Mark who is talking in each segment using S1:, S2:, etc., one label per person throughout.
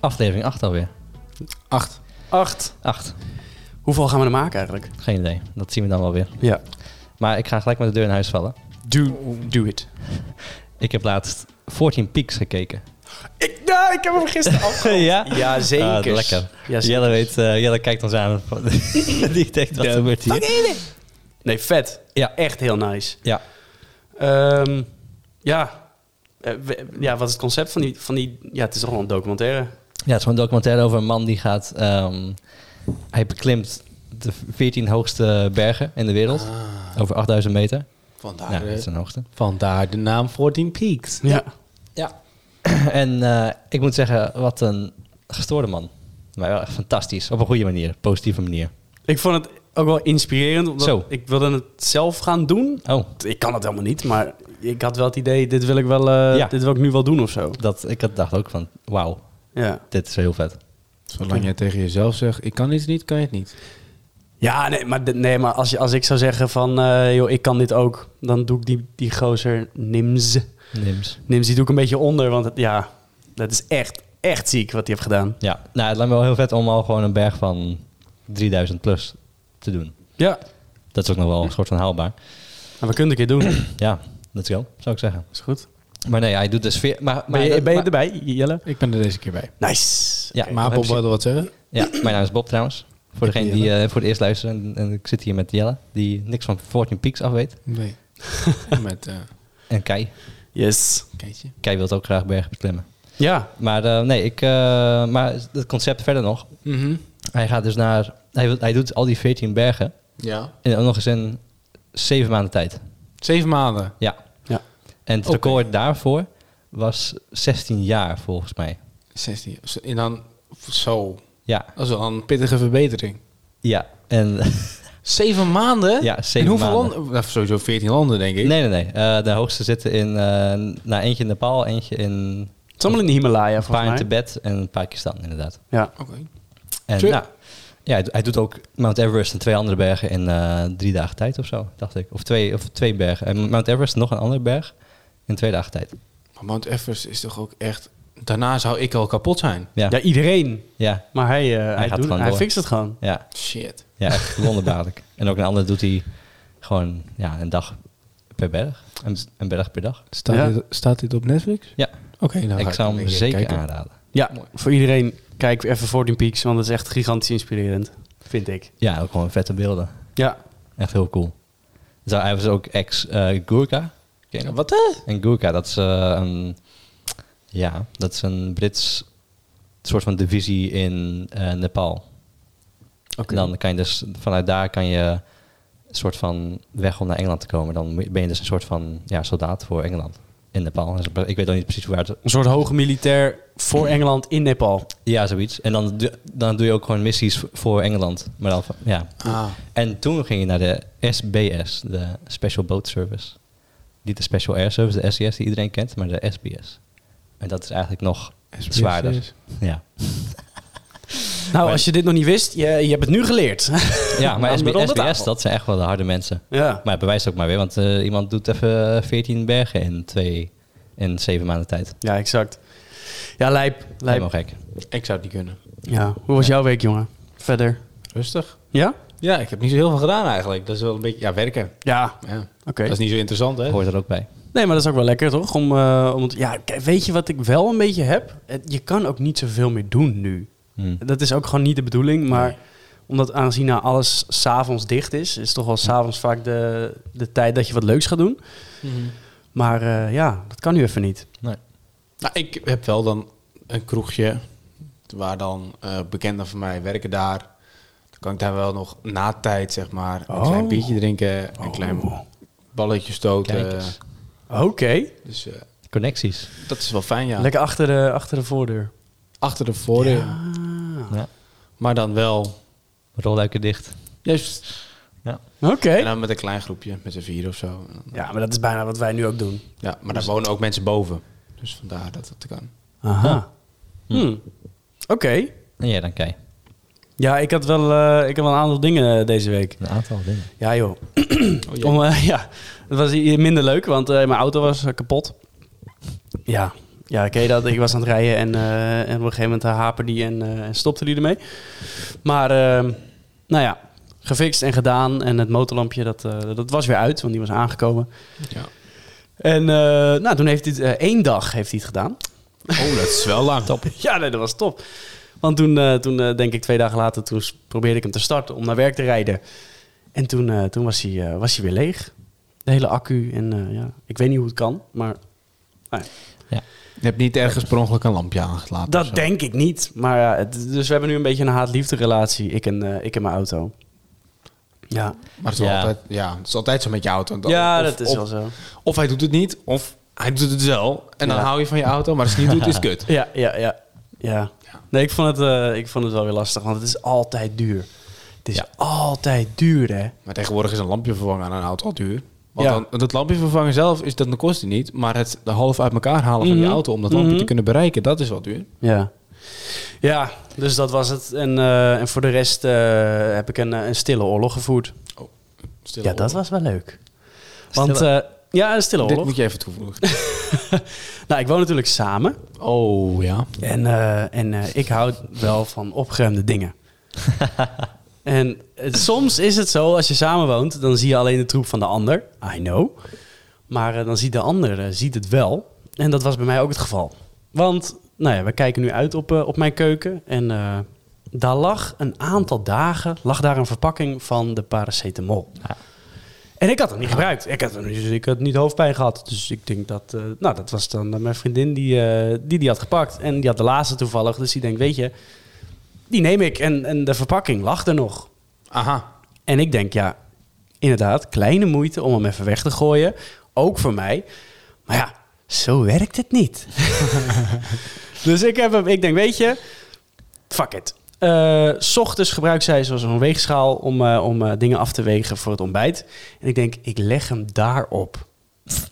S1: Aflevering 8 alweer.
S2: Acht.
S3: Acht.
S1: 8.
S2: Hoeveel gaan we er maken eigenlijk?
S1: Geen idee. Dat zien we dan wel weer.
S2: Ja.
S1: Maar ik ga gelijk met de deur in huis vallen.
S2: Do, do it.
S1: Ik heb laatst 14 Peaks gekeken.
S2: Ik, nou, ik heb hem gisteren af.
S1: ja?
S2: ja, zeker.
S1: Ah, lekker.
S2: Ja, zeker.
S1: Jelle, weet, eh, Jelle kijkt ons aan. Die denkt, wat
S2: De
S1: gebeurt hier?
S2: Nee, vet.
S1: Ja.
S2: Echt heel nice.
S1: Ja.
S2: Ehm, ja. Eh, we- ja, wat is het concept van die, van die... Ja, het is toch wel een documentaire.
S1: Ja, het is gewoon een documentaire over een man die gaat... ehm, hij beklimt de 14 hoogste bergen in de wereld.
S2: Ah.
S1: Over 8000 meter.
S3: Vandaar,
S1: Ja, dat
S3: de,
S1: is een hoogte.
S3: vandaar de naam 14 Peaks.
S2: Ja.
S1: Ja. en eh, ik moet zeggen, wat een gestoorde man. Maar wel echt fantastisch. Op een goede manier. Positieve manier.
S2: Ik vond het ook wel inspirerend. Omdat
S1: Zo.
S2: Ik wilde het zelf gaan doen.
S1: Oh,
S2: Ik kan het helemaal niet, maar ik had wel het idee... Dit wil ik, wel, eh,
S1: Ja.
S2: dit wil ik nu wel doen of zo.
S1: dat, ik had- dacht ook van, wauw,
S2: Ja.
S1: dit is heel vet.
S3: Zolang jij tegen jezelf zegt, ik kan iets niet, kan je het niet.
S2: Ja, nee, maar, dit- nee, maar als, je, als ik zou zeggen van, eh, joh, ik kan dit ook, dan doe ik die, die gozer Nims.
S1: Nims.
S2: Nims, die doe ik een beetje onder, want het- ja, dat is echt, echt ziek wat hij heeft gedaan.
S1: Ja, nou, het lijkt me wel heel vet om al gewoon een berg van 3000 plus te doen.
S2: Ja.
S1: Dat is ook nog wel een soort van haalbaar.
S2: Maar Nou, we kunnen het een keer doen.
S1: Ja, let's go, zou ik zeggen.
S2: is goed.
S1: Maar nee, hij doet de sfeer... Maar, maar
S2: Ben je,
S1: dat-
S2: ben je
S1: maar-
S2: erbij, Jelle?
S3: Ik ben er deze keer bij.
S2: Nice.
S1: Ja,
S2: Oké.
S3: maar
S1: heb
S3: Bob wilde wat zeggen?
S1: Ja, mijn naam is Bob trouwens. Voor degene die eh, voor het eerst luisteren. En, en ik zit hier met Jelle, die niks van Fortune Peaks af weet.
S3: Nee. Met eh
S1: En Kai.
S2: Yes.
S3: Keetje.
S1: Kai wil ook graag bergen beklimmen.
S2: Ja.
S1: Maar eh, nee, ik, eh, maar het concept verder nog.
S3: Mhm.
S1: Hij gaat dus naar... Hij, wil- hij doet al die 14 bergen
S3: Ja.
S1: in nog eens in zeven maanden tijd.
S3: Zeven maanden.
S1: Ja.
S2: Ja.
S1: En het
S3: Oké.
S1: record daarvoor was 16 jaar volgens mij.
S3: 16. En dan zo.
S1: Ja.
S3: Dat is wel een pittige verbetering.
S1: Ja. En
S3: Zeven maanden?
S1: Ja, zeven
S3: En hoeveel
S1: maanden.
S3: landen? Nou, sowieso 14 landen, denk ik.
S1: nee, nee, nee. Eh, de hoogste zitten in, eh, nou, eentje in Nepal, eentje in,
S2: Het is allemaal in de Himalaya,
S1: een paar in
S2: volgens mij.
S1: Tibet en Pakistan inderdaad.
S2: Ja.
S3: Oké.
S1: En
S3: Tje.
S1: nou, ja, hij do- hij doet ook Mount Everest en twee andere bergen in eh, drie dagen tijd of zo, dacht ik. Of twee, of twee bergen. En Mount Everest en nog een andere berg in twee dagen tijd.
S3: Maar Mount Everest is toch ook echt... Daarna zou ik al kapot zijn.
S1: Ja,
S2: Ja,
S1: ja,
S2: iedereen.
S1: ja,
S2: Maar hij, eh, hij,
S1: gaat
S2: doet,
S1: gewoon
S2: hij
S1: door.
S2: fixt het gewoon.
S1: ja,
S3: Shit.
S1: echt wonderbaarlijk. En ook een andere doet hij gewoon ja, een dag per berg. Een, een berg per dag.
S3: Staat,
S2: Ja.
S3: dit, staat dit op Netflix?
S1: Ja,
S3: Oké, nou ga
S1: ik zou
S3: hem
S1: hem
S3: een keer
S1: zeker
S3: kijken.
S1: aanraden.
S2: Ja,
S3: Mooi.
S2: voor iedereen kijk even 14 Peaks, want dat is echt gigantisch inspirerend. Vind ik.
S1: Ja, ook gewoon vette beelden.
S2: Ja.
S1: Echt heel cool. Zo, hij was ook eh, ex-Gurka.
S3: Ja, Wat hè?
S1: en Gurka, dat is eh, een... Ja, dat is een Brits soort van divisie in eh, Nepal.
S2: Oké.
S1: En dan kan je dus... Vanuit daar kan je een soort van weg om naar Engeland te komen. Dan moet- ben je dus een soort van ja, soldaat voor Engeland in Nepal. Dus Ik weet dan niet precies hoe het...
S2: Een soort hoge militair voor Engeland in Nepal.
S1: Ja, zoiets. En dan, doe- dan doe je ook gewoon missies v- voor Engeland. Maar dan, van- ja,
S3: Ah,
S1: En toen ging je naar de SBS, de Special Boat Service. Niet de Special Air Service, de SES die iedereen kent, maar de SBS. En dat is eigenlijk nog
S3: SBS.
S1: zwaarder. Ja,
S2: Nou, als je dit nog niet wist, je, je hebt het nu geleerd.
S1: ja maar
S2: Dan
S1: SB-
S2: weer onder
S1: SBS,
S2: tafel.
S1: dat zijn echt wel de harde mensen.
S2: ja.
S1: Maar het bewijst ook maar weer, want eh, iemand doet even 14 bergen in, twee, in zeven maanden tijd.
S2: ja, exact. Ja, lijp.
S1: Helemaal
S2: lijp.
S1: gek.
S3: ik zou het niet kunnen.
S2: Ja. Hoe was jouw week, jongen? Verder.
S3: Rustig.
S2: Ja?
S3: Ja, ik heb niet zo heel veel gedaan eigenlijk. Dat is wel een beetje... Ja, werken.
S2: Ja,
S3: Ja.
S2: oké.
S3: Dat is niet zo interessant, hè?
S1: Hoort er ook bij.
S2: Nee, maar dat is ook wel lekker, toch? Om, eh, om het- ja, kijk, weet je wat ik wel een beetje heb? Het- Je kan ook niet zoveel meer doen nu.
S1: Hm.
S2: Dat is ook gewoon niet de bedoeling, maar... Omdat aangezien nou alles s'avonds dicht is, is toch wel s'avonds vaak de, de tijd dat je wat leuks gaat doen.
S3: Mhm.
S2: Maar eh, ja, dat kan nu even niet.
S1: Nee.
S3: Nou, ik heb wel dan een kroegje waar dan eh, bekenden van mij werken daar. Dan kan ik daar wel nog na tijd, zeg maar, een
S2: Oh.
S3: klein biertje drinken, een klein
S2: Oh.
S3: balletje stoten.
S1: Kijk eens.
S2: Oké.
S3: Dus eh,
S1: eh, Connecties.
S3: dat is wel fijn, ja.
S2: Lekker achter de, achter de voordeur.
S3: Achter de voordeur,
S2: Ah.
S1: Ja.
S3: maar dan wel.
S1: Rolluiken dicht.
S3: Juist.
S2: Oké.
S3: En dan met een klein groepje, met z'n vier of zo. En dan-
S2: Ja, maar dat is bijna wat wij nu ook doen.
S3: Ja, maar daar wonen ook mensen boven. Dus vandaar dat het kan.
S2: Aha.
S1: Hm.
S2: Hmm. Oké.
S1: En jij dan, Kei.
S2: Ja, ik had, wel, eh, ik had wel een aantal dingen eh, deze week.
S1: Een aantal dingen.
S2: Ja, joh.
S3: Oh, jee.
S2: Om, eh, ja, het was hier minder leuk, want eh, mijn auto was eh, kapot. Ja, Ja, ken je dat? Ik was aan het rijden en, eh, en op een gegeven moment haperde die en, eh, en stopte die ermee. Maar ehm, nou ja, gefixt en gedaan. En het motorlampje, dat, eh, dat was weer uit, want die was aangekomen.
S3: Ja.
S2: En eh, nou, toen heeft hij het, eh, één dag heeft hij het gedaan.
S3: Oh, dat is wel lang. Top.
S2: Ja, nee, dat was top. Want toen, eh, toen eh, denk ik twee dagen later, toen s- probeerde ik hem te starten om naar werk te rijden. En toen, eh, toen was, hij, eh, was hij weer leeg. De hele accu. En eh, ja, ik weet niet hoe het kan, maar
S3: Je hebt niet ergens per ongeluk een lampje aangelaten. of
S2: dat
S3: zo.
S2: denk ik niet. Maar ja, het- dus we hebben nu een beetje een haat-liefde relatie, ik en, eh, ik en mijn auto. Ja,
S3: Maar het is, wel
S1: Ja.
S3: altijd, ja, het is altijd zo met je auto. Want
S2: ja
S3: of-
S2: dat is
S3: of,
S2: wel zo.
S3: Of hij doet het niet, of hij doet het wel. En dan
S2: Ja.
S3: hou je van je auto, maar als hij het niet doet, is het kut.
S2: Ja, ja, ja. ja. Nee, ik vond, het, eh, ik vond het wel weer lastig, want het is altijd duur. Het is
S3: Ja.
S2: altijd duur, hè?
S3: Maar tegenwoordig is een lampje vervangen aan een auto al duur. Want
S2: Ja.
S3: dan, want het lampje vervangen zelf is dat de kosten niet. Maar het de half uit elkaar halen van je
S2: Mhm.
S3: auto om dat lampje
S2: Mhm.
S3: te kunnen bereiken, dat is wel duur.
S2: Ja. Ja, dus dat was het. En, eh, en voor de rest eh, heb ik een, eh, een stille oorlog gevoerd.
S3: Stille
S2: ja, dat
S3: oorlog.
S2: was wel leuk. Want eh, ja, een stille
S3: oh, Dit
S2: oorlog.
S3: moet je even toevoegen.
S2: Nou, ik woon natuurlijk samen.
S3: oh ja.
S2: En, eh, en eh, ik hou wel van opgeruimde dingen. en het- soms is het zo, als je samen woont, dan zie je alleen de troep van de ander. I know. Maar eh, dan ziet de ander eh, ziet het wel. En dat was bij mij ook het geval. Want, nou ja, we kijken nu uit op, eh, op mijn keuken. En eh, daar lag een aantal dagen lag daar een verpakking van de paracetamol. En ik had hem niet gebruikt. Ik had, hem niet- dus ik had niet hoofdpijn gehad. Dus ik denk dat... eh, nou, dat was dan eh, mijn vriendin die, eh, die die had gepakt. En die had de laatste toevallig. Dus die denkt, weet je... Die neem ik. En, en de verpakking lag er nog.
S3: Aha.
S2: En ik denk, ja, inderdaad, kleine moeite om hem even weg te gooien. Ook voor mij. Maar ja, zo werkt het niet. dus ik, heb hem, ik denk, weet je, fuck it. Eh, S ochtends gebruikt zij zoals een weegschaal om, eh, om eh, dingen af te wegen voor het ontbijt. En ik denk, ik leg hem daarop.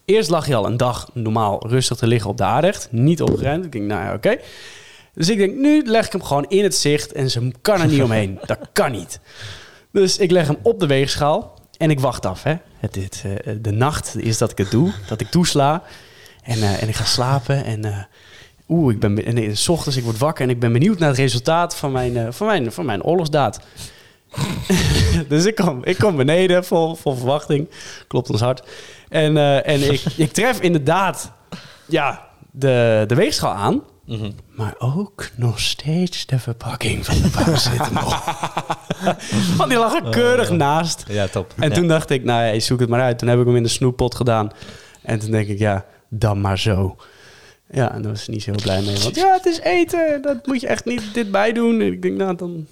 S2: Eerst lag hij al een dag normaal rustig te liggen op de aardrecht. Niet opgeruimd. Ik denk, nou ja, oké. Dus ik denk, nu leg ik hem gewoon in het zicht en ze kan er niet omheen. Dat kan niet. Dus ik leg hem op de weegschaal en ik wacht af. Hè. Het, dit, eh, de nacht is dat ik het doe, dat ik toesla. En, eh, en ik ga slapen en... eh, Oeh, ik ben be- en in de ochtends, ik word wakker en ik ben benieuwd naar het resultaat van mijn, eh, van mijn, van mijn oorlogsdaad. dus ik kom, ik kom beneden vol, vol verwachting. Klopt ons hart. En, eh, en ik, ik tref inderdaad ja, de, de weegschaal aan.
S1: Mhm.
S2: Maar ook nog steeds de verpakking van de paracetamol. Want die lag er keurig naast.
S1: Ja, top.
S2: En
S1: Ja.
S2: toen dacht ik, nou ja, zoek het maar uit. Toen heb ik hem in de snoeppot gedaan. En toen denk ik, ja, dan maar zo. Ja, en daar was ze niet zo heel blij mee. Want ja, het is eten. Dat moet je echt niet dit bij doen. En ik denk, nou, dan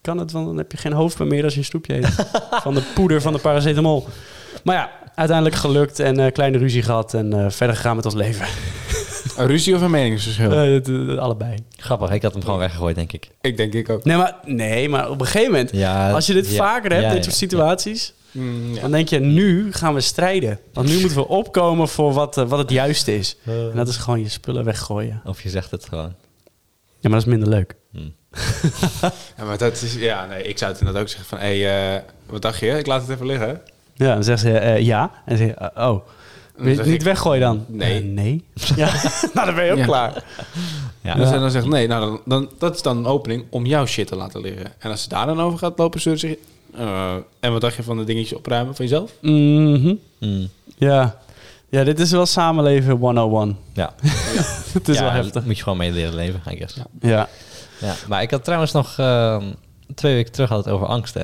S2: kan het. Want dan heb je geen hoofdpijn meer als je een snoepje eet. van de poeder van de paracetamol. Maar ja, uiteindelijk gelukt. En eh, kleine ruzie gehad. En eh, verder gegaan met ons leven.
S3: Een ruzie of een meningsverschil?
S2: Eh, het- het- allebei.
S1: Grappig, ik had hem gewoon weggegooid, denk ik.
S3: Ik denk ik ook.
S2: Nee maar, nee, maar op een gegeven moment...
S1: Ja,
S2: als je dit
S1: ja,
S2: vaker hebt,
S1: ja,
S2: dit
S1: ja,
S2: soort
S1: ja.
S2: situaties...
S3: Mm, ja.
S2: Dan denk je, nu gaan we strijden. Want nu moeten we opkomen voor wat, eh, wat het juiste is. En dat is gewoon je spullen weggooien.
S1: Of je zegt het gewoon. Hmm.
S2: Ja, maar dat is minder leuk.
S3: Ja, maar dat is, ja, nee, ik zou het inderdaad ook zeggen van, hé, hey, eh, wat dacht je? Ik laat het even liggen.
S2: Ja, dan zegt ze eh, ja. En dan zeg je, eh, oh, wil je
S3: zeg
S2: het niet
S3: ik,
S2: weggooien dan?
S3: nee.
S2: Eh, nee. Ja, nou dan ben je ook
S3: Ja.
S2: klaar.
S1: Ja.
S3: En als zij dan zegt, nee, nou, dan, dan, dat is dan een opening om jouw shit te laten liggen. En als ze daar dan over gaat lopen, zeuren ze, eh, en wat dacht je van de dingetjes opruimen van jezelf?
S2: Mhm.
S1: Mm.
S2: ja. ja, dit is wel samenleven 101.
S1: Ja.
S2: Het is
S1: Ja,
S2: wel
S1: daar
S2: heftig.
S1: Moet je gewoon mee leren leven, I guess. Ja.
S3: Ja.
S2: Ja.
S1: Maar ik had trouwens nog... ehm, twee weken terug had het over angst, hè.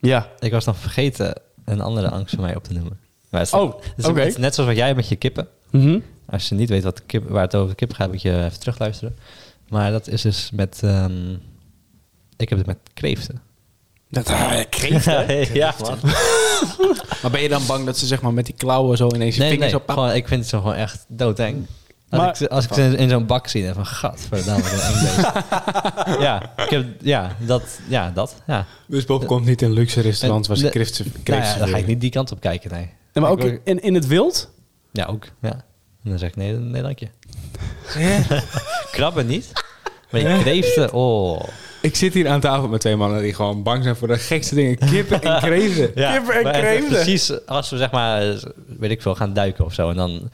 S2: Ja.
S1: Ik was nog vergeten een andere angst van mij op te noemen. Maar het is-
S2: Oh,
S1: het is-
S2: oké.
S1: het is net zoals wat jij met je kippen.
S2: Mhm.
S1: Als je niet weet wat de kip, waar het over de kip gaat, moet je even terugluisteren. Maar dat is dus met... ehm, ik heb het met kreeften.
S2: Dat kreeft.
S1: ja, man.
S3: Maar ben je dan bang dat ze zeg maar met die klauwen zo ineens je
S1: Nee, nee.
S3: vingers op...
S1: Gewoon, ik vind het zo gewoon echt doodeng. Als
S2: Maar-
S1: ik, ze- als ik ze in zo'n bak zie, dan van gadverdamme, wat een eng beest. ja, ik heb, ja, dat, ja, dat, ja.
S3: Dus Bob komt niet in luxe restaurants waar ze
S1: Nee.
S3: kreeften
S1: Nou
S3: kreeften
S1: ja, dan ga ik
S3: serveren.
S1: niet die kant op kijken, nee.
S2: Maar ook
S3: Ik wil-
S2: in, in het wild?
S1: Ja, ook. Ja. En dan zeg ik nee, nee dank je. Krabben niet. Maar je kreeften, oh.
S3: Ik zit hier aan tafel met twee mannen die gewoon bang zijn voor de gekste dingen. Kippen en kreeften.
S2: Kippen en
S1: maar echt
S2: kreeften.
S1: Precies als we zeg maar, weet ik veel, gaan duiken of zo. En dan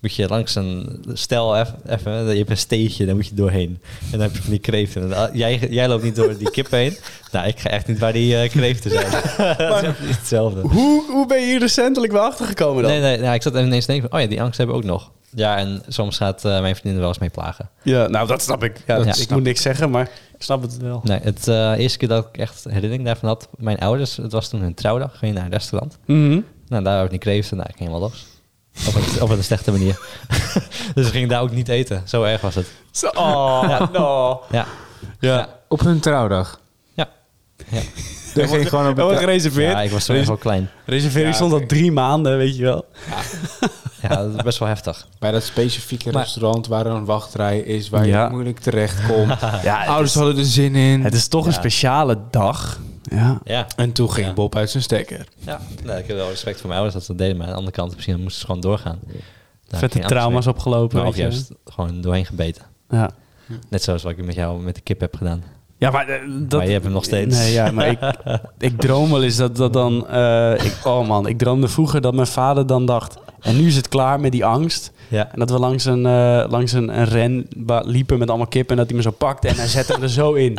S1: moet je langs een... Stel eff- even, je hebt een steegje, daar moet je doorheen. En dan heb je van die kreeften. En, ah, jij, jij loopt niet door die kip heen. Nou, ik ga echt niet waar die eh, kreeften zijn. dat is echt niet hetzelfde.
S2: Hoe, hoe ben je hier recentelijk wel achtergekomen dan?
S1: Nee, nee, nou, ik zat ineens te denken van, oh ja, die angst hebben we ook nog. Ja, en soms gaat eh, mijn vriendin er wel eens mee plagen.
S2: Ja, nou, dat snap ik. Ja,
S1: Ja,
S2: dat-
S1: ja.
S2: ik moet niks zeggen, maar ik snap het wel.
S1: Nee, het eh, eerste keer dat ik echt herinnering daarvan had, mijn ouders, het was toen hun trouwdag, ging je naar een restaurant.
S2: Mhm.
S1: Nou, daar had ik niet kreeften, nou, ik ging wel los. Op een, op een slechte manier. dus we gingen daar ook niet eten. Zo erg was het.
S2: Zo, oh, no.
S1: Ja.
S2: Ja.
S4: Op hun trouwdag.
S1: Ja. Ja,
S4: Daar ging gewoon op
S2: Dat wordt
S4: een
S2: gereserveerd.
S1: ja ik was toen echt wel klein.
S2: Reservering
S3: Ja,
S2: stond al
S3: oké.
S2: drie maanden, weet je wel.
S1: Ja, dat is best wel heftig.
S3: Bij dat specifieke
S1: Maar-
S3: restaurant waar een wachtrij is, waar
S2: Ja.
S3: je moeilijk terecht komt.
S2: Ja,
S3: Ouders hadden er zin in.
S2: Het is toch een speciale dag. Ja.
S1: Ja.
S3: En toen ging
S1: Ja.
S3: Bob uit zijn stekker.
S1: ja. Nee, ik heb wel respect voor mijn ouders dat ze dat deden, maar aan de andere kant, misschien moesten ze gewoon doorgaan. Daar
S2: Vette
S1: geen angst
S2: trauma's
S1: mee.
S2: opgelopen.
S1: Maar
S2: weet
S1: Of
S2: je.
S1: Nou, juist gewoon doorheen gebeten.
S2: Ja.
S1: Net zoals wat ik met jou met de kip heb gedaan.
S2: Ja, maar, eh, dat,
S1: Maar je hebt hem nog steeds.
S2: Nee, ja, maar ik, ik droom wel eens dat dat dan... eh, ik, oh man, ik droomde vroeger dat mijn vader dan dacht... En nu is het klaar met die angst.
S1: Ja.
S2: En dat we langs een, eh, langs een, een ren ba- liepen met allemaal kippen... en dat hij me zo pakte en hij zette me er zo in.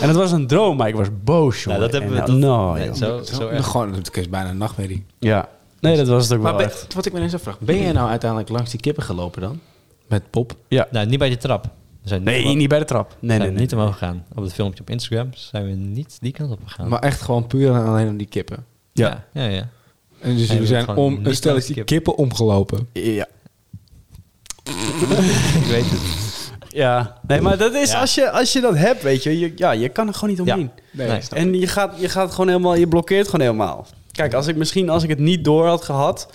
S2: En dat was een droom, maar ik was boos, jongen.
S1: Nou, dat hebben we... dat-
S2: En, nou,
S1: nee,
S2: joh.
S1: zo, zo erg.
S3: Gewoon, het is bijna een nachtmerrie.
S2: Ja. Nee, dat was het ook
S3: Maar
S2: wel
S3: ben-
S2: echt.
S3: wat ik me ineens afvraag, ben jij nou uiteindelijk langs die kippen gelopen dan? Met Bob?
S2: Ja.
S1: Nou, niet bij de trap. We zijn niet,
S2: Nee,
S1: omhoog-
S2: niet bij de trap. Nee,
S1: zijn
S2: nee, nee.
S1: niet omhoog gegaan. Op het filmpje op Instagram zijn we niet die kant op gegaan.
S3: Maar echt gewoon puur en alleen om die kippen.
S1: ja. Ja, ja,
S3: En
S1: Nee,
S3: dus jullie
S1: we
S3: zijn
S1: gewoon
S3: om
S1: niet
S3: een
S1: langs
S3: stelletje
S1: die
S3: kippen. kippen omgelopen.
S2: Ja.
S1: Ik weet het.
S2: Ja, nee, maar dat is
S1: Ja.
S2: als, je, als je dat hebt, weet je, je, ja, je kan er gewoon niet
S1: Ja.
S2: omheen.
S1: Nee.
S3: Nee.
S2: En je gaat, je gaat gewoon helemaal, je blokkeert gewoon helemaal. Kijk, als ik misschien als ik het niet door had gehad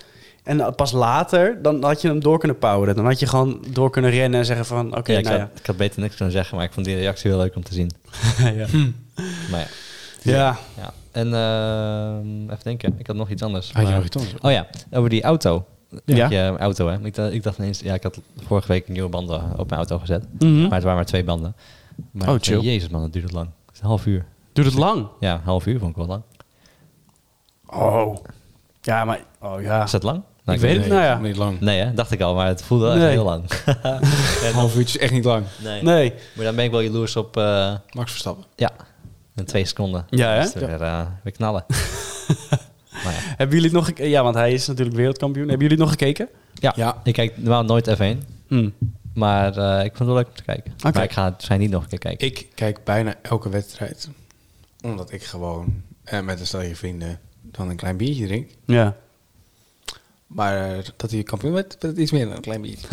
S2: en pas later, dan had je hem door kunnen poweren. Dan had je gewoon door kunnen rennen en zeggen van, oké,
S1: Ja, ik,
S2: nou
S1: had, ik had beter niks kunnen zeggen, maar ik vond die reactie heel leuk om te zien.
S2: ja. ja.
S1: Maar ja.
S2: Ja.
S1: ja. En ehm, even denken, ik had nog iets anders.
S3: Had je
S1: maar-
S3: nog iets anders?
S1: Oh ja, over die auto.
S2: Ah, Ja.
S1: Ik, eh, auto, hè. Ik dacht, ik dacht ineens, ja, ik had vorige week nieuwe banden op mijn auto gezet.
S2: Mhm.
S1: Maar het waren maar twee banden. Maar
S2: Oh,
S1: ik dacht,
S2: chill.
S1: Jezus man, dat duurt het lang. Het is een half uur.
S2: Doet het lang?
S1: Ja, een half uur vond ik wel lang.
S2: Ah. Oh. Ja, maar, oh ja.
S1: Is dat lang?
S2: Ik weet het, nou ja.
S3: niet lang.
S1: Nee, hè? dacht ik al, maar het voelde echt
S2: Nee.
S1: heel lang.
S3: Een half uurtje is echt niet lang.
S1: nee.
S2: Nee.
S1: Maar dan ben ik wel jaloers op, eh,
S3: Max Verstappen.
S1: ja, in twee seconden.
S2: Ja, hè?
S1: Is het weer, eh, weer knallen. maar ja.
S2: Hebben jullie het nog, geke- ja, want hij is natuurlijk wereldkampioen. Hebben jullie het nog gekeken?
S1: Ja,
S3: Ja.
S1: ik kijk normaal nooit F1,
S2: Hm.
S1: maar eh, ik vond het wel leuk om te kijken.
S2: Oké.
S1: Maar ik ga het zijn niet nog een keer kijken.
S3: Ik kijk bijna elke wedstrijd. Omdat ik gewoon eh, met een stelje vrienden dan een klein biertje drink.
S2: Ja.
S3: Maar eh, dat hij kampioen werd, werd het iets meer dan een klein biertje.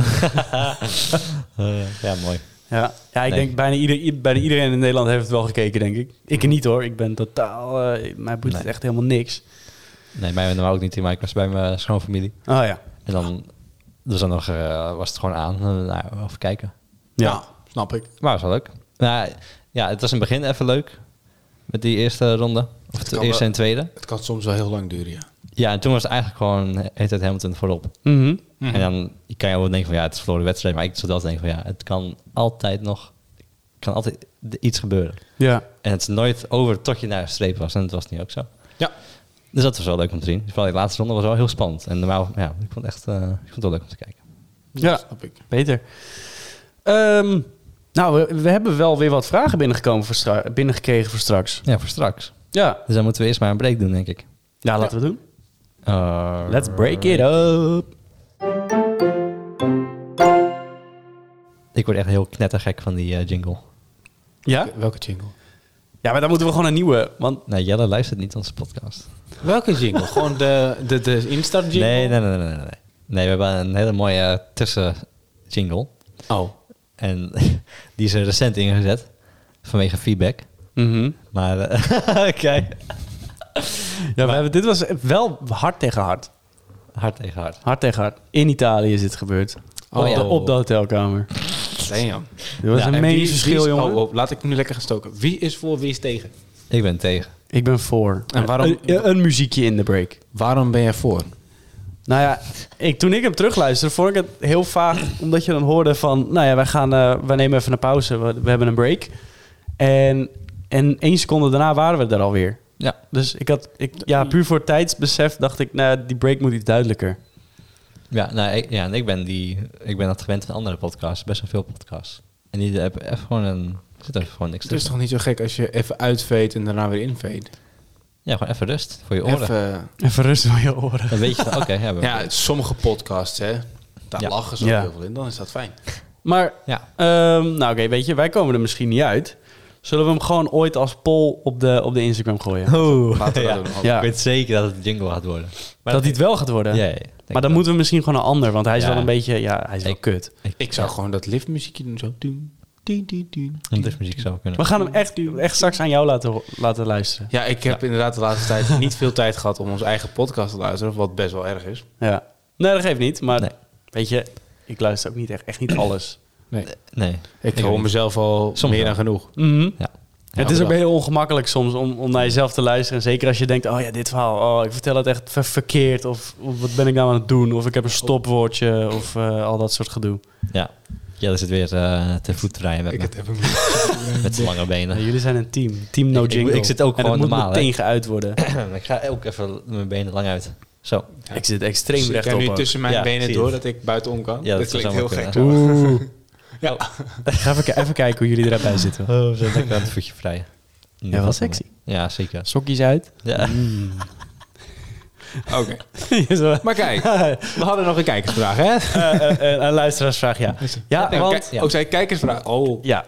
S1: Eh, ja, mooi.
S2: Ja, ja ik
S1: Nee.
S2: denk bijna, ieder, i- bijna iedereen in Nederland heeft het wel gekeken, denk ik. Ik niet hoor, ik ben totaal... eh, mij boeit het
S1: Nee.
S2: echt helemaal niks.
S1: Nee, mij normaal ook niet in, maar ik was bij mijn schoonfamilie.
S2: Oh ja.
S1: En dan, dus dan nog, eh, was het gewoon aan, eh, nou, even kijken.
S2: Ja.
S3: snap ik.
S1: Maar het was wel leuk. Nou, ja, het was in het begin even leuk. Met die eerste ronde. Of de
S3: kan
S1: eerste
S3: wel.
S1: en tweede.
S3: Het kan soms wel heel lang duren, ja.
S1: Ja, en toen was het eigenlijk gewoon heet het Hamilton voorop.
S2: Mhm.
S1: En dan je kan je wel denken van ja, het is een verloren wedstrijd. Maar ik zat altijd denken van ja, het kan altijd nog... kan altijd d- iets gebeuren.
S2: Ja.
S1: En het is nooit over tot je naar de streep was. En dat was nu ook zo.
S3: Ja.
S1: Dus dat was wel leuk om te zien. Vooral die laatste ronde was wel heel spannend. En normaal, ja, ik vond het echt eh, ik vond het wel leuk om te kijken.
S2: Ja.
S3: Snap ik.
S2: Beter. Ehm, nou, we, we hebben wel weer wat vragen binnengekomen voor stra- binnengekregen voor straks.
S1: Ja, voor straks.
S2: Ja.
S1: Dus dan moeten we eerst maar een break doen, denk ik.
S2: Ja, laten we doen.
S1: Eh,
S2: Let's break it up.
S1: Ik word echt heel knettergek van die eh, jingle.
S2: Ja?
S3: Welke jingle?
S2: Ja, maar dan moeten we gewoon een nieuwe, want...
S1: Nee, Nou, Jelle luistert niet onze podcast.
S3: Welke jingle? Gewoon de, de, de instart jingle?
S1: Nee, nee, nee, nee, nee, nee. Nee, we hebben een hele mooie tussen jingle.
S3: Oh.
S1: En die is er recent ingezet vanwege feedback. Maar eh, kijk,
S2: Ja, Mhm. we hebben, dit was wel hard tegen hard.
S1: hard tegen hard.
S2: Hard tegen hard. In Italië is dit gebeurd.
S3: Oh,
S2: op, de,
S3: ja.
S2: op de hotelkamer.
S3: Damn.
S2: Er was
S3: Nou,
S2: een
S3: en wie
S2: medisch
S3: is-
S2: verschil,
S3: wie is-
S2: jongen.
S3: Oh, oh, laat ik nu lekker gaan stoken. Wie is voor, wie is tegen?
S1: Ik ben tegen.
S2: Ik ben voor.
S3: En waarom-
S2: Een, een muziekje in de break.
S3: Waarom ben jij voor?
S2: Nou ja, ik, toen ik hem terugluisterde, vond ik het heel vaag. Omdat je dan hoorde van, nou ja, wij, gaan, eh, wij nemen even een pauze. We, we hebben een break. En, en één seconde daarna waren we er alweer.
S1: Ja.
S2: Dus ik had, ik, ja, puur voor tijdsbesef dacht ik, nou ja, die break moet iets duidelijker.
S1: Ja, nou, ik, ja, en ik ben, die, ik ben dat gewend van andere podcasts. Best wel veel podcasts. En die hebben echt gewoon een... Zit er gewoon niks
S3: Het is
S1: tussen.
S3: toch niet zo gek als je even uitveet en daarna weer inveet?
S1: Ja, gewoon even rust voor je oren.
S3: Even, eh,
S2: Even rust door je oren.
S1: Dan weet je van, oké, ja, we-
S3: ja, sommige podcasts, hè. Daar
S1: Ja.
S3: lachen ze ook
S2: Ja.
S3: heel veel in. Dan is dat fijn.
S2: Maar,
S1: Ja.
S2: ehm, nou oké, weet je, wij komen er misschien niet uit. Zullen we hem gewoon ooit als poll op de, op de Instagram gooien?
S1: Oeh,
S3: Laten we
S1: ja.
S3: dat doen.
S2: Ja.
S1: Ik weet zeker dat het een jingle gaat worden. Maar
S2: dat hij het wel gaat worden.
S1: Ja, ja, ja. Denk
S2: maar
S1: ik
S2: dan moeten we misschien gewoon een ander, want hij is
S1: Ja.
S2: wel een beetje, ja, hij is wel
S1: Ik-
S2: kut.
S1: wel.
S3: Ik zou gewoon dat liftmuziekje doen. Zo. Doen, doen, doen, doen.
S1: Want dus muziek zou kunnen.
S2: We gaan hem echt, echt straks aan jou laten, ho- laten luisteren.
S3: Ja, ik heb inderdaad de laatste tijd niet veel tijd gehad om onze eigen podcast te luisteren. Wat best wel erg is.
S2: Ja. Nee, dat geeft niet, maar
S1: Nee.
S2: weet je, ik luister ook niet echt, echt niet alles.
S1: Nee.
S3: Ik hoor
S1: ook niet.
S3: mezelf al
S1: Soms
S3: meer
S1: wel.
S3: dan genoeg.
S2: Mhm.
S1: Ja.
S2: het is
S3: bedankt.
S2: ook heel ongemakkelijk soms om, om naar jezelf te luisteren. En zeker als je denkt, oh ja, dit verhaal, oh, ik vertel het echt ver- verkeerd. Of, of wat ben ik nou aan het doen? Of ik heb een stopwoordje of eh, al dat soort gedoe.
S1: Ja. Jelle zit weer eh, te voet rijden
S3: nou.
S1: met, me, met zijn lange benen.
S2: Ja, jullie zijn een team. Team No
S1: Ik- ik-
S2: Jingle.
S1: ik zit ook
S2: en
S1: gewoon
S2: dat
S1: normaal,
S2: moet
S1: hè?
S2: meteen geuit worden.
S1: ik ga ook even mijn benen lang uit. Zo.
S2: Dus Ik zit extreem
S3: ik
S2: rechtop.
S3: heb nu
S2: ook.
S3: tussen mijn
S1: Ja, zie
S3: benen
S1: je.
S3: door dat ik buitenom kan.
S1: Ja, dat
S3: dat,
S1: zou
S3: klinkt heel
S1: zomaar
S3: gek.
S1: kunnen,
S3: zo.
S2: Oeh.
S3: Ja.
S2: Ga even, even kijken hoe jullie erbij zitten.
S1: Oh, we zijn lekker aan het voetje vrij.
S2: Ja, wel sexy.
S1: Ja, zeker.
S2: Sokjes uit.
S1: Ja.
S3: Oké.
S2: Ja, zo.
S3: Maar kijk, we hadden nog een kijkersvraag, hè?
S2: Eh, eh, eh, een luisteraarsvraag, ja. Ja,
S3: Kijk,
S2: want...
S3: Ook zijn kijkersvraag. Oh,
S2: Ja,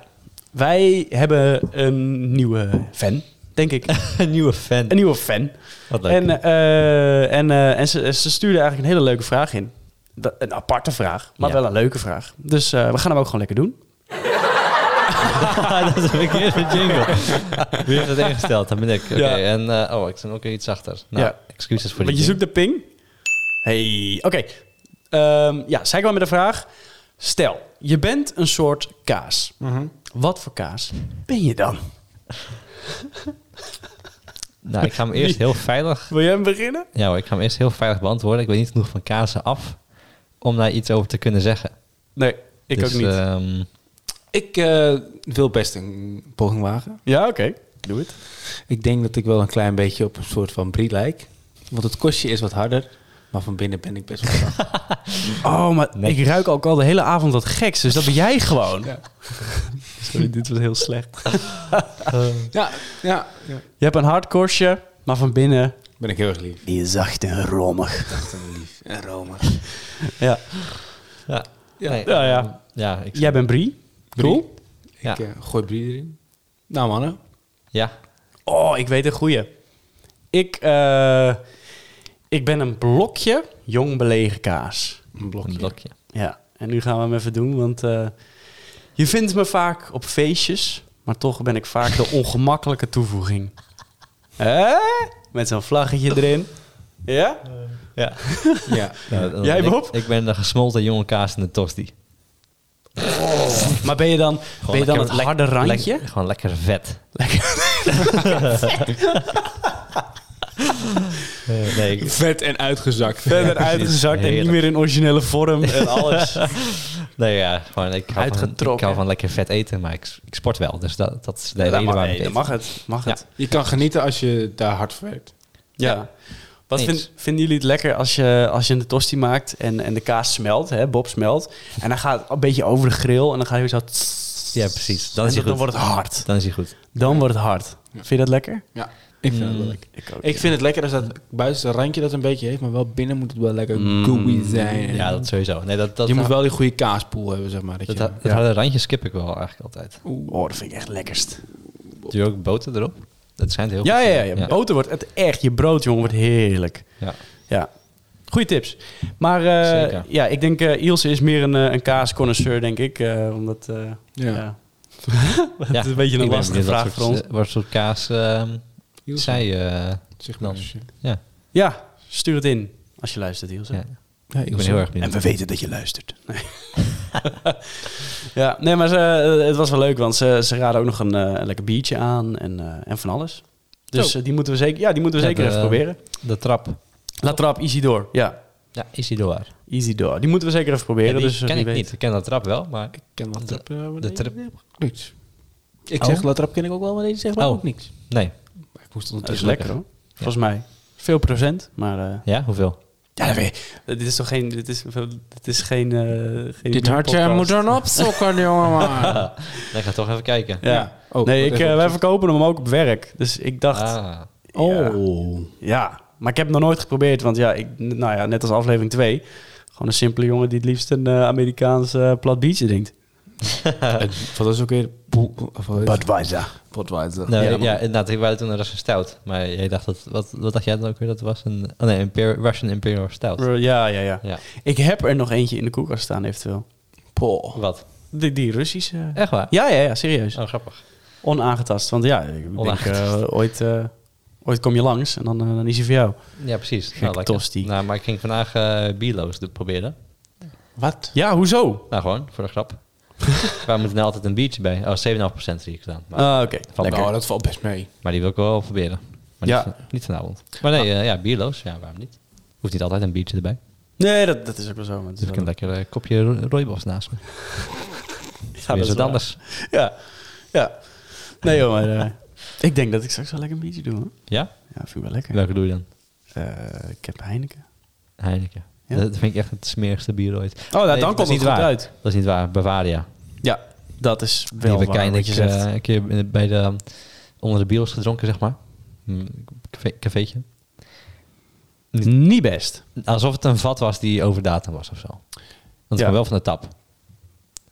S2: wij hebben een nieuwe fan, denk ik.
S1: Een nieuwe fan.
S2: Een nieuwe fan.
S1: Wat leuk.
S2: En, eh, en, eh, en ze, ze stuurde eigenlijk een hele leuke vraag in. Dat- Een aparte vraag, maar
S1: Ja.
S2: wel een leuke vraag. Dus eh, we gaan hem ook gewoon lekker doen.
S1: Ah, dat is een verkeerde jingle. Wie heeft dat ingesteld? Dat ben ik. Oké.
S2: Ja.
S1: En eh, oh, ik zit ook weer iets achter. Nou,
S2: Ja.
S1: excuses voor die
S2: Want je
S1: jingle.
S2: zoekt de ping. Hey, oké. Ehm, ja, zij kwam met een vraag. Stel, je bent een soort kaas. Wat voor kaas ben je dan?
S1: Nou, ik ga hem eerst heel veilig...
S2: Wil jij hem beginnen?
S1: Ja hoor, ik ga hem eerst heel veilig beantwoorden. Ik weet niet genoeg van kazen af om daar iets over te kunnen zeggen.
S2: Nee, ik
S1: Dus,
S2: ook
S3: eh,
S2: niet.
S1: ehm,
S3: ik eh, wil best een poging wagen.
S2: ja, oké. Doe het.
S3: Ik denk dat ik wel een klein beetje op een soort van brie lijk. Want het kostje is wat harder. Maar van binnen ben ik best wel zacht.
S2: Oh, maar
S1: Netjes.
S2: ik ruik ook al de hele avond wat geks. Dus dat ben jij gewoon. Sorry, dit was heel slecht.
S3: ja, ja, ja.
S2: Je hebt een hard korstje, maar van binnen...
S3: Ben ik heel erg lief.
S2: Die is zacht en rommig.
S3: Echt een lief. En Rome.
S2: Ja.
S1: ja.
S3: Ja.
S1: Nee,
S2: Ja, ja.
S1: ja, ik
S2: Jij bent Brie. Cool.
S1: Ja.
S3: Ik eh, gooi brie erin. Nou mannen.
S1: Ja.
S2: Oh, ik weet een goeie. Ik, eh, ik ben een blokje jong belegen kaas.
S3: Een blokje.
S1: Een blokje.
S2: Ja, en nu gaan we hem even doen, want eh, je vindt me vaak op feestjes, maar toch ben ik vaak de ongemakkelijke toevoeging. Hè? Met zo'n vlaggetje erin. Ja?
S1: Ja.
S3: Ja.
S2: Jij,
S1: ik,
S2: Bob?
S1: Ik ben de gesmolten jonge kaas in de tosti. Gewoon
S2: Maar ben je dan, ben je dan het
S1: lekker- lek-
S2: harde randje?
S1: lek- gewoon lekker vet. Lekker. Eh, nee, ik-
S3: Vet en uitgezakt.
S2: Verder
S1: precies.
S2: uitgezakt en niet
S1: Heerlijk.
S2: meer in originele vorm en alles.
S1: nee, ja, gewoon, ik hou, van, ik
S2: Uitgetrokken.
S1: hou van lekker vet eten, maar ik, ik sport wel. Dus dat, dat is de
S2: Dat
S1: reden
S2: mag,
S1: waarom
S2: nee,
S1: ik
S2: dat
S1: eet.
S2: mag het. Mag
S1: Ja.
S2: het.
S3: Je kan genieten als je daar hard voor werkt.
S2: Ja.
S1: Ja.
S2: Wat
S1: Eens.
S2: vind- vinden jullie het lekker als je, als je een tosti maakt en, en de kaas smelt, hè, Bob smelt. En dan gaat het een beetje over de grill en dan gaat hij zo... tss.
S1: Ja, precies. Dan
S2: En
S1: is hij
S2: dat- dan
S1: goed.
S2: wordt het hard.
S1: Dan is hij goed.
S2: Dan wordt het hard. Vind je dat lekker?
S3: Ja. Ik vind het
S1: Mm.
S3: wel lekker.
S2: Ik ook.
S3: Ik vind het lekker als dat buitenste randje dat een beetje heeft, maar wel binnen moet het wel lekker
S2: Mm.
S3: gooey zijn.
S1: Ja, dat sowieso. Nee, dat, dat,
S3: je moet wel die goede kaaspoel hebben, zeg maar. Dat
S1: dat,
S3: je,
S1: dat harde randje skip ik wel eigenlijk altijd.
S2: Oh, dat vind ik echt lekkerst.
S1: Doe je ook boter erop? Dat schijnt heel
S2: Ja,
S1: goed te
S2: ja, ja,
S1: zijn.
S2: Boter wordt het echt. Je brood, jongen, wordt heerlijk.
S1: Ja.
S2: Ja. Goeie tips. Maar eh,
S1: Zeker.
S2: ja, ik denk eh Ilse is meer een, eh, een kaasconnoisseur, denk ik. eh, omdat, eh, ja.
S3: Ja.
S2: dat is een beetje een
S1: ik ben
S2: lastige
S1: benieuwd wat
S2: vraag voor
S1: soort,
S2: ons.
S1: eh, Wat soort kaas ehm,
S3: Ilse.
S1: zij... eh,
S3: zeg
S1: dan-
S3: maar.
S1: ja,
S2: Ja, stuur het in als je luistert, Ilse.
S1: ja,
S3: Ja,
S1: ik ben heel erg
S2: En
S1: benieuwd.
S2: we weten dat je luistert. Nee. ja, nee, maar ze, eh, het was wel leuk, want ze, ze raden ook nog een, eh, een lekker biertje aan en, eh, en van alles. Dus
S1: Zo.
S2: eh, die moeten we zeker, ja, die moeten we
S1: Ja,
S2: zeker
S1: de-
S2: even proberen.
S1: De trap.
S2: La Trap, Isidore. Ja,
S1: Ja, Isidore.
S2: Isidore. Die moeten we zeker even proberen.
S1: Ja, die
S2: dus eh,
S1: ken ik
S2: wie weet.
S1: niet. Ik ken de trap wel, maar...
S3: Ik ken
S1: De-
S3: dat trap. eh, maar
S1: de
S3: nee,
S1: trap.
S3: nee, Niks. Ik
S1: Oh.
S3: zeg dat trap ken ik ook wel, maar deze zegt maar
S1: Oh.
S3: ook niks.
S1: Nee.
S3: Maar ik moest dus
S2: Dat is
S3: ondertussen
S2: lekker hoor. Volgens mij. Veel procent, maar eh,
S1: Ja, hoeveel?
S2: Ja, dat weet ik. Dit is toch geen... Dit is, dit is geen, eh, geen
S3: Dit hartje
S2: podcast.
S3: moet er een opzokken, jongeman.
S1: Dan ga toch even kijken.
S2: Ja.
S3: Ja. Oh,
S2: nee, ik,
S3: even
S2: eh, wij
S3: opzoeken.
S2: verkopen hem ook op werk. Dus ik dacht...
S1: Ah,
S2: Oh. Ja, maar ik heb het nog nooit geprobeerd. Want ja, ik, nou ja, net als aflevering 2. Gewoon een simpele jongen die het liefst een eh, Amerikaans eh, plat biertje drinkt.
S3: Het- Wat is ook weer... Bo- of wat is-
S2: Budweiser.
S3: Budweiser.
S1: nou,
S3: Ja,
S1: ja,
S3: man.
S1: inderdaad. Ik wou toen een Russian stout. Maar jij dacht dat... Wat, wat dacht jij dan ook weer dat het was? Een oh nee, Imperial, Russian Imperial Stout.
S2: Eh, Ja, ja, ja.
S1: Ja.
S2: Ik heb er nog eentje in de koelkast staan eventueel.
S3: Poh.
S1: Wat?
S2: Die, die Russische.
S1: Echt waar?
S2: Ja, ja, ja, serieus.
S1: Oh, grappig.
S2: Onaangetast. Want ja, ik denk eh,
S1: Onaangetast.
S2: ooit, eh, ooit kom je langs en dan, eh, dan is hij voor jou.
S1: Ja, precies.
S2: Gekke tosti.
S1: Nou, maar ik ging vandaag eh bierloos doen- proberen.
S3: Wat?
S2: Ja, hoezo?
S1: Nou, gewoon, voor de grap. Waar moet nou altijd een biertje bij? Oh, 7,5% zie ik gedaan. Maar,
S2: Ah, Oké,
S1: Van
S2: lekker.
S3: Nou, dat valt best mee.
S1: maar die wil ik wel proberen. Maar
S2: Ja. Nou.
S1: niet, van- niet vanavond. Maar nee, eh, ja, bierloos. Ja, waarom niet? Hoeft niet altijd een biertje erbij.
S2: Nee, dat, dat is ook wel zo. maar het
S1: Dus ik
S2: is wel-
S1: een lekker eh, kopje ro- rooibos naast me.
S2: Ja,
S1: Ja,
S2: dat
S1: is
S2: is
S1: wat
S2: waar.
S1: anders.
S2: Ja, ja. Nee joh, maar eh, ik denk dat ik straks wel lekker een biertje doe. Hoor.
S1: Ja?
S2: Ja, vind ik wel lekker.
S1: Welke doe je dan?
S2: Eh, ik heb Heineken.
S1: Heineken.
S2: Ja?
S1: Dat vind ik echt het smerigste bier ooit.
S2: Oh, nou,
S1: Nee,
S2: dan
S1: dat
S2: komt
S1: is
S2: het
S1: niet
S2: goed
S1: waar.
S2: uit.
S1: Dat is niet waar. Bavaria.
S2: Ja, dat is
S1: Die
S2: wel
S1: heb ik
S2: waar wat
S1: eindelijk
S2: je zegt.
S1: eh, een keer in- bij de, onder de bios gedronken, zeg maar. Een café- cafeetje. niet-
S2: niet best.
S1: Alsof het een vat was die over datum was of zo. Want het
S2: Ja.
S1: kwam wel van de tap.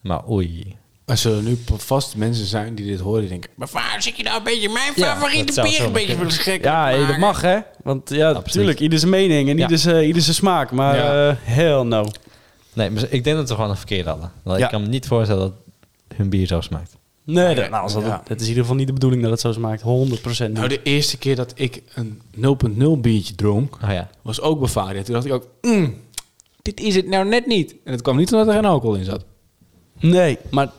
S1: Maar oei.
S3: Er zullen nu vast mensen zijn die dit horen die denken... Maar waar zit je nou een beetje mijn
S1: Ja, dat
S3: favoriete
S1: zou
S3: bier
S1: zo
S3: een beetje
S1: kunnen.
S3: beschikken?
S2: Ja, hey, dat mag hè. Want ja,
S1: Absoluut.
S2: natuurlijk, ieder zijn mening en
S1: Ja.
S2: ieder, zijn, ieder zijn smaak. Maar
S3: Ja.
S2: eh, hell no.
S1: Nee, maar ik denk dat we gewoon een verkeerde hadden. Want
S2: Ja.
S1: Ik kan me niet voorstellen dat hun bier zo smaakt.
S2: Nee, dat, nou, als dat,
S3: Ja.
S2: dat is in ieder geval niet de bedoeling dat het zo smaakt. 100% niet.
S3: Nou, de eerste keer dat ik een 0.0 biertje dronk,
S1: Oh ja.
S3: was ook Bavaria. Toen dacht ik ook, "Mm, dit is het nou net niet. En het kwam niet omdat er geen alcohol in zat.
S2: nee, maar,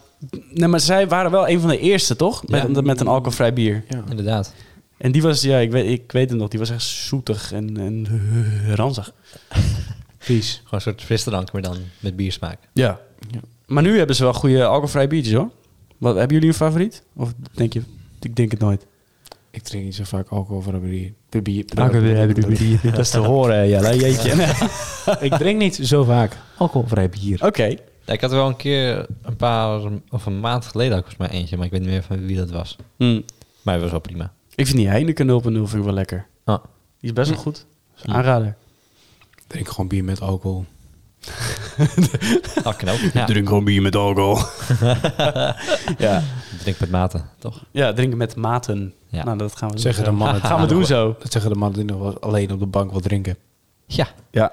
S2: nee, maar zij waren wel een van de eerste, toch? Met,
S3: Ja.
S2: met een alcoholvrij bier.
S3: Ja.
S1: Inderdaad.
S2: En die was, ja, ik weet, ik weet het nog, die was echt zoetig en, en ranzig.
S3: Vies.
S1: Gewoon een soort frisdrank, maar dan met biersmaak.
S2: Ja.
S3: Ja.
S2: Maar nu hebben ze wel goede alcoholvrij biertjes hoor. Wat, hebben jullie een favoriet? Of denk je, ik denk het nooit.
S3: Ik drink niet zo vaak alcohol voor een bier. De bier.
S2: Dat is te horen, ja, nou, jeetje.
S3: ik drink niet zo vaak alcoholvrij bier.
S2: Oké.
S1: Ja, ik had er wel een keer een paar, of een maand geleden ook volgens mij eentje. Maar ik weet niet meer van wie dat was.
S2: Hm.
S1: Maar het was wel prima.
S2: Ik vind die Heineken 0.0 vind ik wel lekker.
S1: Ah.
S2: Die is best wel goed. Dus aanrader.
S3: Ik drink gewoon bier met alcohol.
S1: Ah, knap. Ja.
S2: Drink gewoon bier met alcohol. ja.
S1: Drink met mate, toch?
S2: ja, drinken met maten.
S1: Ja.
S2: Nou, dat gaan we doen.
S3: Zeggen de mannen.
S2: gaan we doen zo.
S3: Dat zeggen de mannen die nog wel alleen op de bank wil drinken.
S1: Ja.
S2: Ja.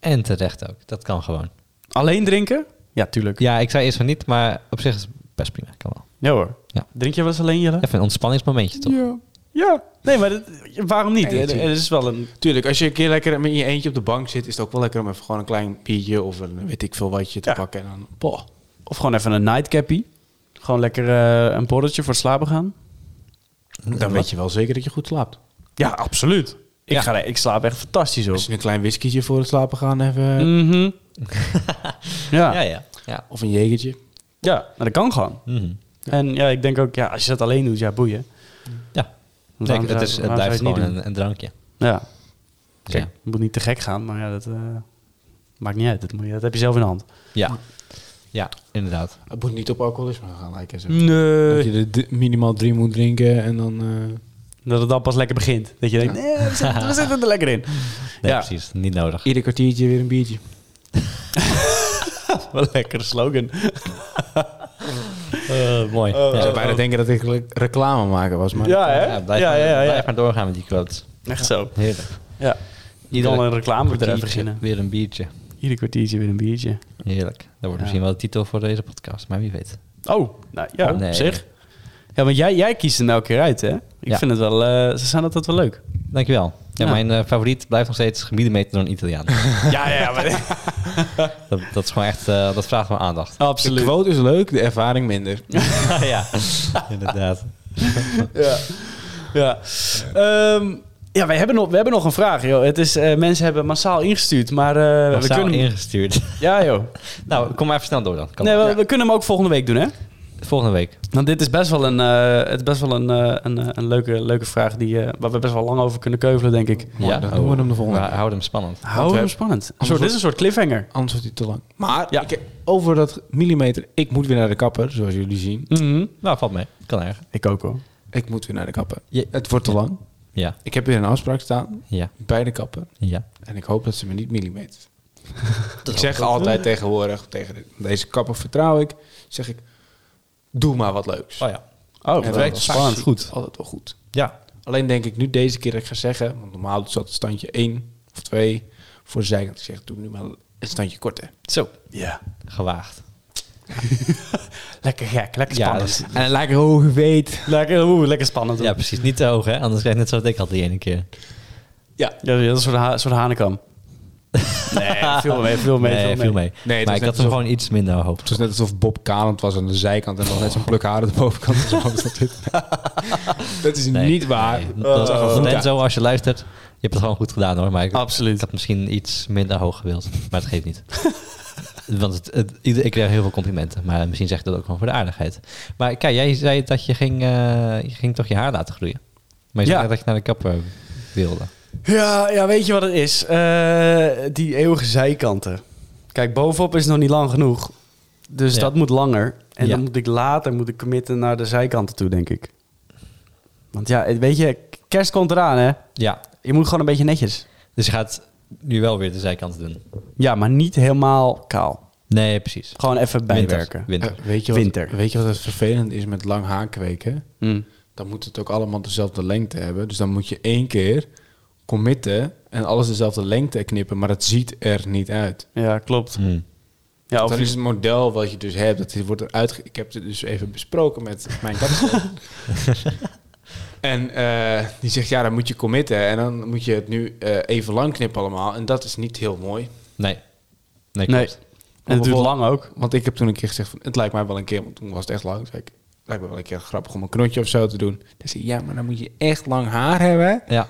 S1: En terecht ook. Dat kan gewoon.
S2: Alleen drinken? Ja, tuurlijk.
S1: Ja, ik zei eerst van niet, maar op zich is het best prima. Kan wel.
S2: Ja hoor.
S1: Ja.
S2: Drink je wel eens alleen, Jelle?
S1: Even een ontspanningsmomentje, toch?
S3: Ja.
S2: Ja. Nee, maar dat- waarom niet?
S3: Nee,
S2: Het
S3: tuurlijk.
S2: is wel een...
S3: Tuurlijk, als je een keer lekker in je eentje op de bank zit, is het ook wel lekker om even gewoon een klein biertje of een weet ik veel watje te
S2: Ja.
S3: pakken. En dan, boh.
S2: Of gewoon even een nightcappie. Gewoon lekker eh, een borreltje voor het slapen gaan.
S3: Dan weet je wel zeker dat je goed slaapt.
S2: Ja, absoluut. Ik,
S1: Ja.
S2: Ga, ik slaap echt fantastisch op.
S3: Dus een klein whiskietje voor het slapen gaan even.
S2: Mhm.
S1: Ja,
S2: ja. Ja,
S1: ja. ja.
S3: Of een jegertje.
S2: maar dat kan gewoon.
S1: Mhm.
S2: En ja, ik denk ook, ja, als je dat alleen doet, ja, boeien.
S1: Ja,
S2: Want
S1: nee,
S2: waarom
S1: het,
S2: zou-
S1: is, het
S2: waarom zou
S1: blijft
S2: je niet
S1: gewoon
S2: doen?
S1: een, een drankje.
S2: Ja,
S1: Dus
S2: Kijk, het moet niet te gek gaan, maar ja, dat eh, maakt niet uit. Dat, moet je, dat heb je zelf in de hand.
S1: Ja. ja, ja, inderdaad.
S3: Het moet niet op alcoholisme gaan lijken.
S2: Mm.
S3: Zo. Dat
S2: Nee.
S3: je er d- minimaal drie moet drinken en dan... eh,
S2: Dat het dan pas lekker begint. Dat je denkt, nee, we zitten, we zitten er lekker in.
S1: Nee,
S2: ja,
S1: precies. Niet nodig.
S3: ieder kwartiertje weer een biertje.
S2: wel een lekkere slogan.
S1: mooi.
S3: Ik
S1: ja.
S3: zou bijna denken dat ik le- reclame maken was, maar...
S2: Ja, hè?
S1: Ja, blijf,
S2: ja,
S1: maar,
S2: ja, ja.
S1: blijf maar doorgaan met die quotes.
S2: Echt zo.
S1: Heerlijk.
S2: Ja.
S1: Ieder
S2: Ieder een reclamebedrijf
S1: kwartiertje
S2: beginnen.
S1: Weer een biertje.
S2: Ieder kwartiertje weer een biertje.
S1: Heerlijk. Dat wordt
S2: Ja.
S1: misschien wel de titel voor deze podcast, maar wie weet.
S2: Oh, nou ja,
S1: Oh, nee.
S2: op zich. Ja, want jij, jij kiest hem elke keer uit, hè? Ik
S1: Ja.
S2: vind het wel... eh, ze zijn altijd wel leuk.
S1: Dankjewel. Ja,
S2: Ja.
S1: Mijn eh, favoriet blijft nog steeds gemieden meten door een Italiaan.
S2: ja, ja, maar...
S1: dat, dat is gewoon echt, eh, dat vraagt wel aandacht.
S3: De
S2: Absoluut.
S3: quote is leuk, de ervaring minder.
S1: ja, inderdaad.
S2: Ja. Ja. Ehm, ja, wij hebben nog, we hebben nog een vraag, joh. Het is, eh, mensen hebben massaal ingestuurd, maar eh, we
S1: Massaal
S2: kunnen...
S1: ingestuurd.
S2: Ja, joh.
S1: nou, kom maar even snel door dan. Kom
S2: Nee,
S1: maar.
S2: we, we kunnen hem ook volgende week doen, hè?
S1: Volgende week.
S2: Want dit is best wel een, eh, het is best wel een, eh, een, eh, een leuke, leuke vraag die, eh, waar we best wel lang over kunnen keuvelen, denk ik.
S3: Mooi, dan doen we hem de volgende
S1: Maar Houd hem spannend.
S2: Hou hem
S3: hebben-
S2: spannend. Een soort, dit is een soort cliffhanger.
S3: Anders wordt hij te lang. Maar
S2: Ja.
S3: ik, over dat millimeter, ik moet weer naar de kapper, zoals jullie zien.
S2: Mhm.
S1: Nou, valt mee. Kan erg.
S2: Ik ook hoor.
S3: Ik moet weer naar de kapper.
S1: Je-
S3: Het wordt te lang.
S1: Ja,
S3: Ik heb weer een afspraak staan
S1: ja,
S3: bij de kapper.
S1: ja.
S3: En ik hoop dat ze me niet millimeter. ik zeg altijd tegenwoordig, tegen de- deze kapper vertrouw ik, zeg ik, doe maar wat leuks.
S1: Oh ja.
S2: Oh,
S3: En
S2: het
S3: dan
S2: werkt
S3: staat
S2: spannend.
S3: hij
S2: Goed.
S3: Altijd wel goed.
S1: Ja.
S3: Alleen denk ik nu deze keer dat ik ga zeggen, want normaal doet ze altijd standje 1 of 2 voor de zijkant. Ik zeg, doe nu maar een standje korter.
S1: Zo.
S2: Ja.
S1: Gewaagd.
S2: Lekker gek, lekker
S1: Ja,
S2: spannend.
S1: dat
S3: En lekker hoog weet.
S2: lekker, oeh, lekker spannend.
S1: Ja,
S2: Ja,
S1: precies. Niet te hoog, hè? Anders krijg je net zoals ik had die ene keer.
S3: Ja.
S2: dat is een soort, ha soort hanenkam. nee, veel mee, veel mee,
S1: nee,
S2: veel mee.
S1: Nee,
S3: het
S1: maar ik had
S3: is net
S1: hem
S3: alsof-
S1: gewoon iets minder hoog.
S3: Het was net alsof Bob kalend was aan de zijkant en dan net zo'n pluk haar aan de bovenkant. was. Dat dit- dat is
S1: Nee,
S3: niet waar.
S1: nee. Dat
S3: Oh.
S1: is
S3: Ja.
S1: net zo als je luistert. Je hebt het gewoon goed gedaan hoor. Maar ik, ik
S2: Absoluut.
S1: had misschien iets minder hoog gewild. Maar het geeft niet. Want het, het- ieder- ik kreeg heel veel complimenten. Maar misschien zeg ik dat ook gewoon voor de aardigheid. Maar kijk, jij zei dat je ging, eh, je ging toch je haar laten groeien. Maar je
S2: Ja.
S1: zei net dat je naar de kapper wilde.
S2: Ja, ja, weet je wat het is? Eh, die eeuwige zijkanten. Kijk, bovenop is nog niet lang genoeg. Dus
S1: Ja.
S2: dat moet langer. En
S1: Ja.
S2: dan moet ik later moet ik committen naar de zijkanten toe, denk ik. Want ja, eh, weet je, kerst komt eraan, hè?
S1: Ja,
S2: Je moet gewoon een beetje netjes.
S1: dus je gaat nu wel weer de zijkanten doen.
S2: Ja, maar niet helemaal kaal.
S1: Nee, precies.
S2: Gewoon even
S1: Winter.
S2: bijwerken.
S1: Winter.
S3: Eh, weet, je wat,
S2: Winter.
S3: weet je wat het vervelend is met lang haar kweken?
S2: Mm.
S3: Dan moet het ook allemaal dezelfde lengte hebben. Dus dan moet je één keer committen en alles dezelfde lengte knippen. Maar dat ziet er niet uit.
S2: Ja, klopt.
S1: Hm.
S2: Ja,
S3: dan
S2: of
S3: is het model wat je dus hebt, dat wordt eruit... ge- Ik heb het dus even besproken met mijn kapsel. en eh, die zegt, ja, dan moet je committen. En dan moet je het nu eh, even lang knippen allemaal. En dat is niet heel mooi.
S1: Nee. Nee,
S2: Nee.
S1: klopt.
S2: En het duurt lang ook.
S3: Want ik heb toen een keer gezegd, van, het lijkt mij wel een keer... Want toen was het echt lang. Zei ik, het lijkt me wel een keer grappig om een knotje of zo te doen. Dan zei hij, ja, maar dan moet je echt lang haar hebben.
S1: Ja.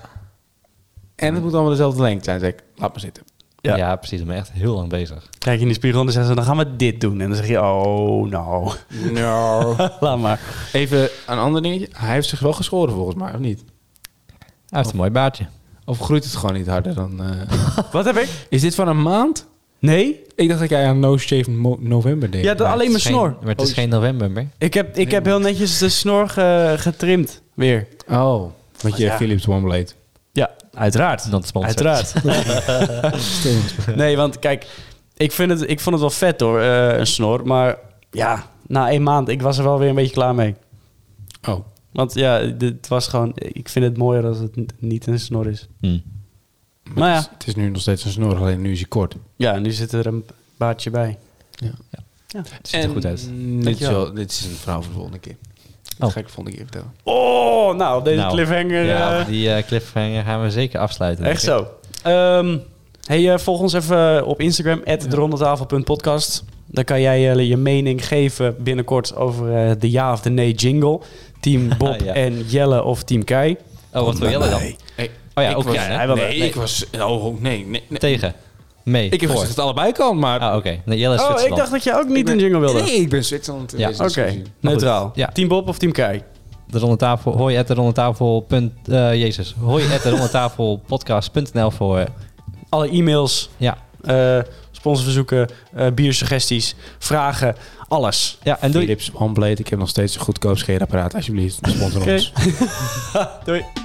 S3: En het moet allemaal dezelfde lengte zijn. Zei ik, laat maar zitten.
S2: Ja.
S1: Ja. precies. Ik ben echt heel lang bezig.
S2: Kijk je in de spiegel en dan zeggen ze, dan gaan we dit doen. En dan zeg je, oh, nou.
S3: Nou.
S2: Laat maar.
S3: even een ander dingetje. Hij heeft zich wel geschoren volgens mij, of niet?
S1: Hij heeft een mooi baardje.
S3: Of groeit het gewoon niet harder dan... eh,
S2: Wat heb ik?
S3: Is dit van een maand?
S2: Nee?
S3: Ik dacht dat jij aan No Shave Mo- November deed.
S2: Ja, dat alleen
S1: Het
S2: mijn
S1: is geen-
S2: snor. Oh,
S1: Maar het is geen november meer.
S2: Ik heb, ik heb heel netjes de snor ge- getrimd. Weer.
S3: Oh, want je
S1: Ah,
S2: Ja.
S3: Philips OneBlade.
S2: Ja, uiteraard.
S1: Dat is sponsor.
S2: Uiteraard. nee, want kijk, ik, vind het, ik vond het wel vet hoor, eh, een snor. Maar ja, na één maand, ik was er wel weer een beetje klaar mee.
S3: Oh,
S2: Want ja, dit- het was gewoon, ik vind het mooier als het n- niet een snor is.
S1: Hm.
S3: maar
S2: Nou ja.
S3: het, is, het is nu nog steeds een snor, alleen nu is hij kort.
S2: Ja, nu zit er een baardje bij.
S1: Het ziet er goed uit.
S3: Mm, Dit is,
S2: Dankjewel.
S3: wel- dit is een verhaal voor de volgende keer. Dat
S1: Oh.
S3: ga ik de volgende keer vertellen.
S2: Oh, nou, op deze
S1: Nou,
S2: cliffhanger.
S1: Ja,
S2: eh,
S1: die eh, cliffhanger gaan we zeker afsluiten.
S2: Echt
S1: denk ik.
S2: zo. Ehm, hey, eh, volg ons even op Instagram, derondetafel.podcast. Daar kan jij eh, je mening geven binnenkort over eh, de ja of de nee jingle. Team Bob
S1: Ja.
S2: en Jelle of Team Kai.
S1: Oh, wat wil jij dan?
S3: Hey,
S1: Oh ja,
S3: ik
S1: ook
S3: was,
S1: jij, hè?
S2: Hij wilde-
S3: nee,
S2: nee.
S3: ik was... Oh, nee, nee, nee.
S1: Tegen. Mee.
S3: Ik heb
S1: voor.
S3: gezegd dat het allebei kan, maar...
S1: Ah, oké. Nee, Jelle is
S2: Oh, ik
S1: Zwitserland.
S2: dacht dat je ook niet
S3: ben-
S2: een jingle wilde.
S3: Nee, ik ben Zwitserland. eh, in
S1: Ja,
S3: deze
S2: Oké,
S3: discussie.
S2: neutraal.
S1: Ja.
S2: Team Bob of Team Kai?
S1: De ronde tafel. Hoi at de ronde tafel. Punt, eh, Jezus. Hoi at de ronde tafel podcast.nl voor. eh,
S2: Alle e-mails,
S1: ja.
S2: eh, sponsorverzoeken, eh, biersuggesties, vragen, alles.
S1: ja, en doei.
S3: Philips OneBlade, ik heb nog steeds een goedkoop scheerapparaat. Alsjeblieft, sponsor
S2: Oké.
S3: ons.
S2: Doei.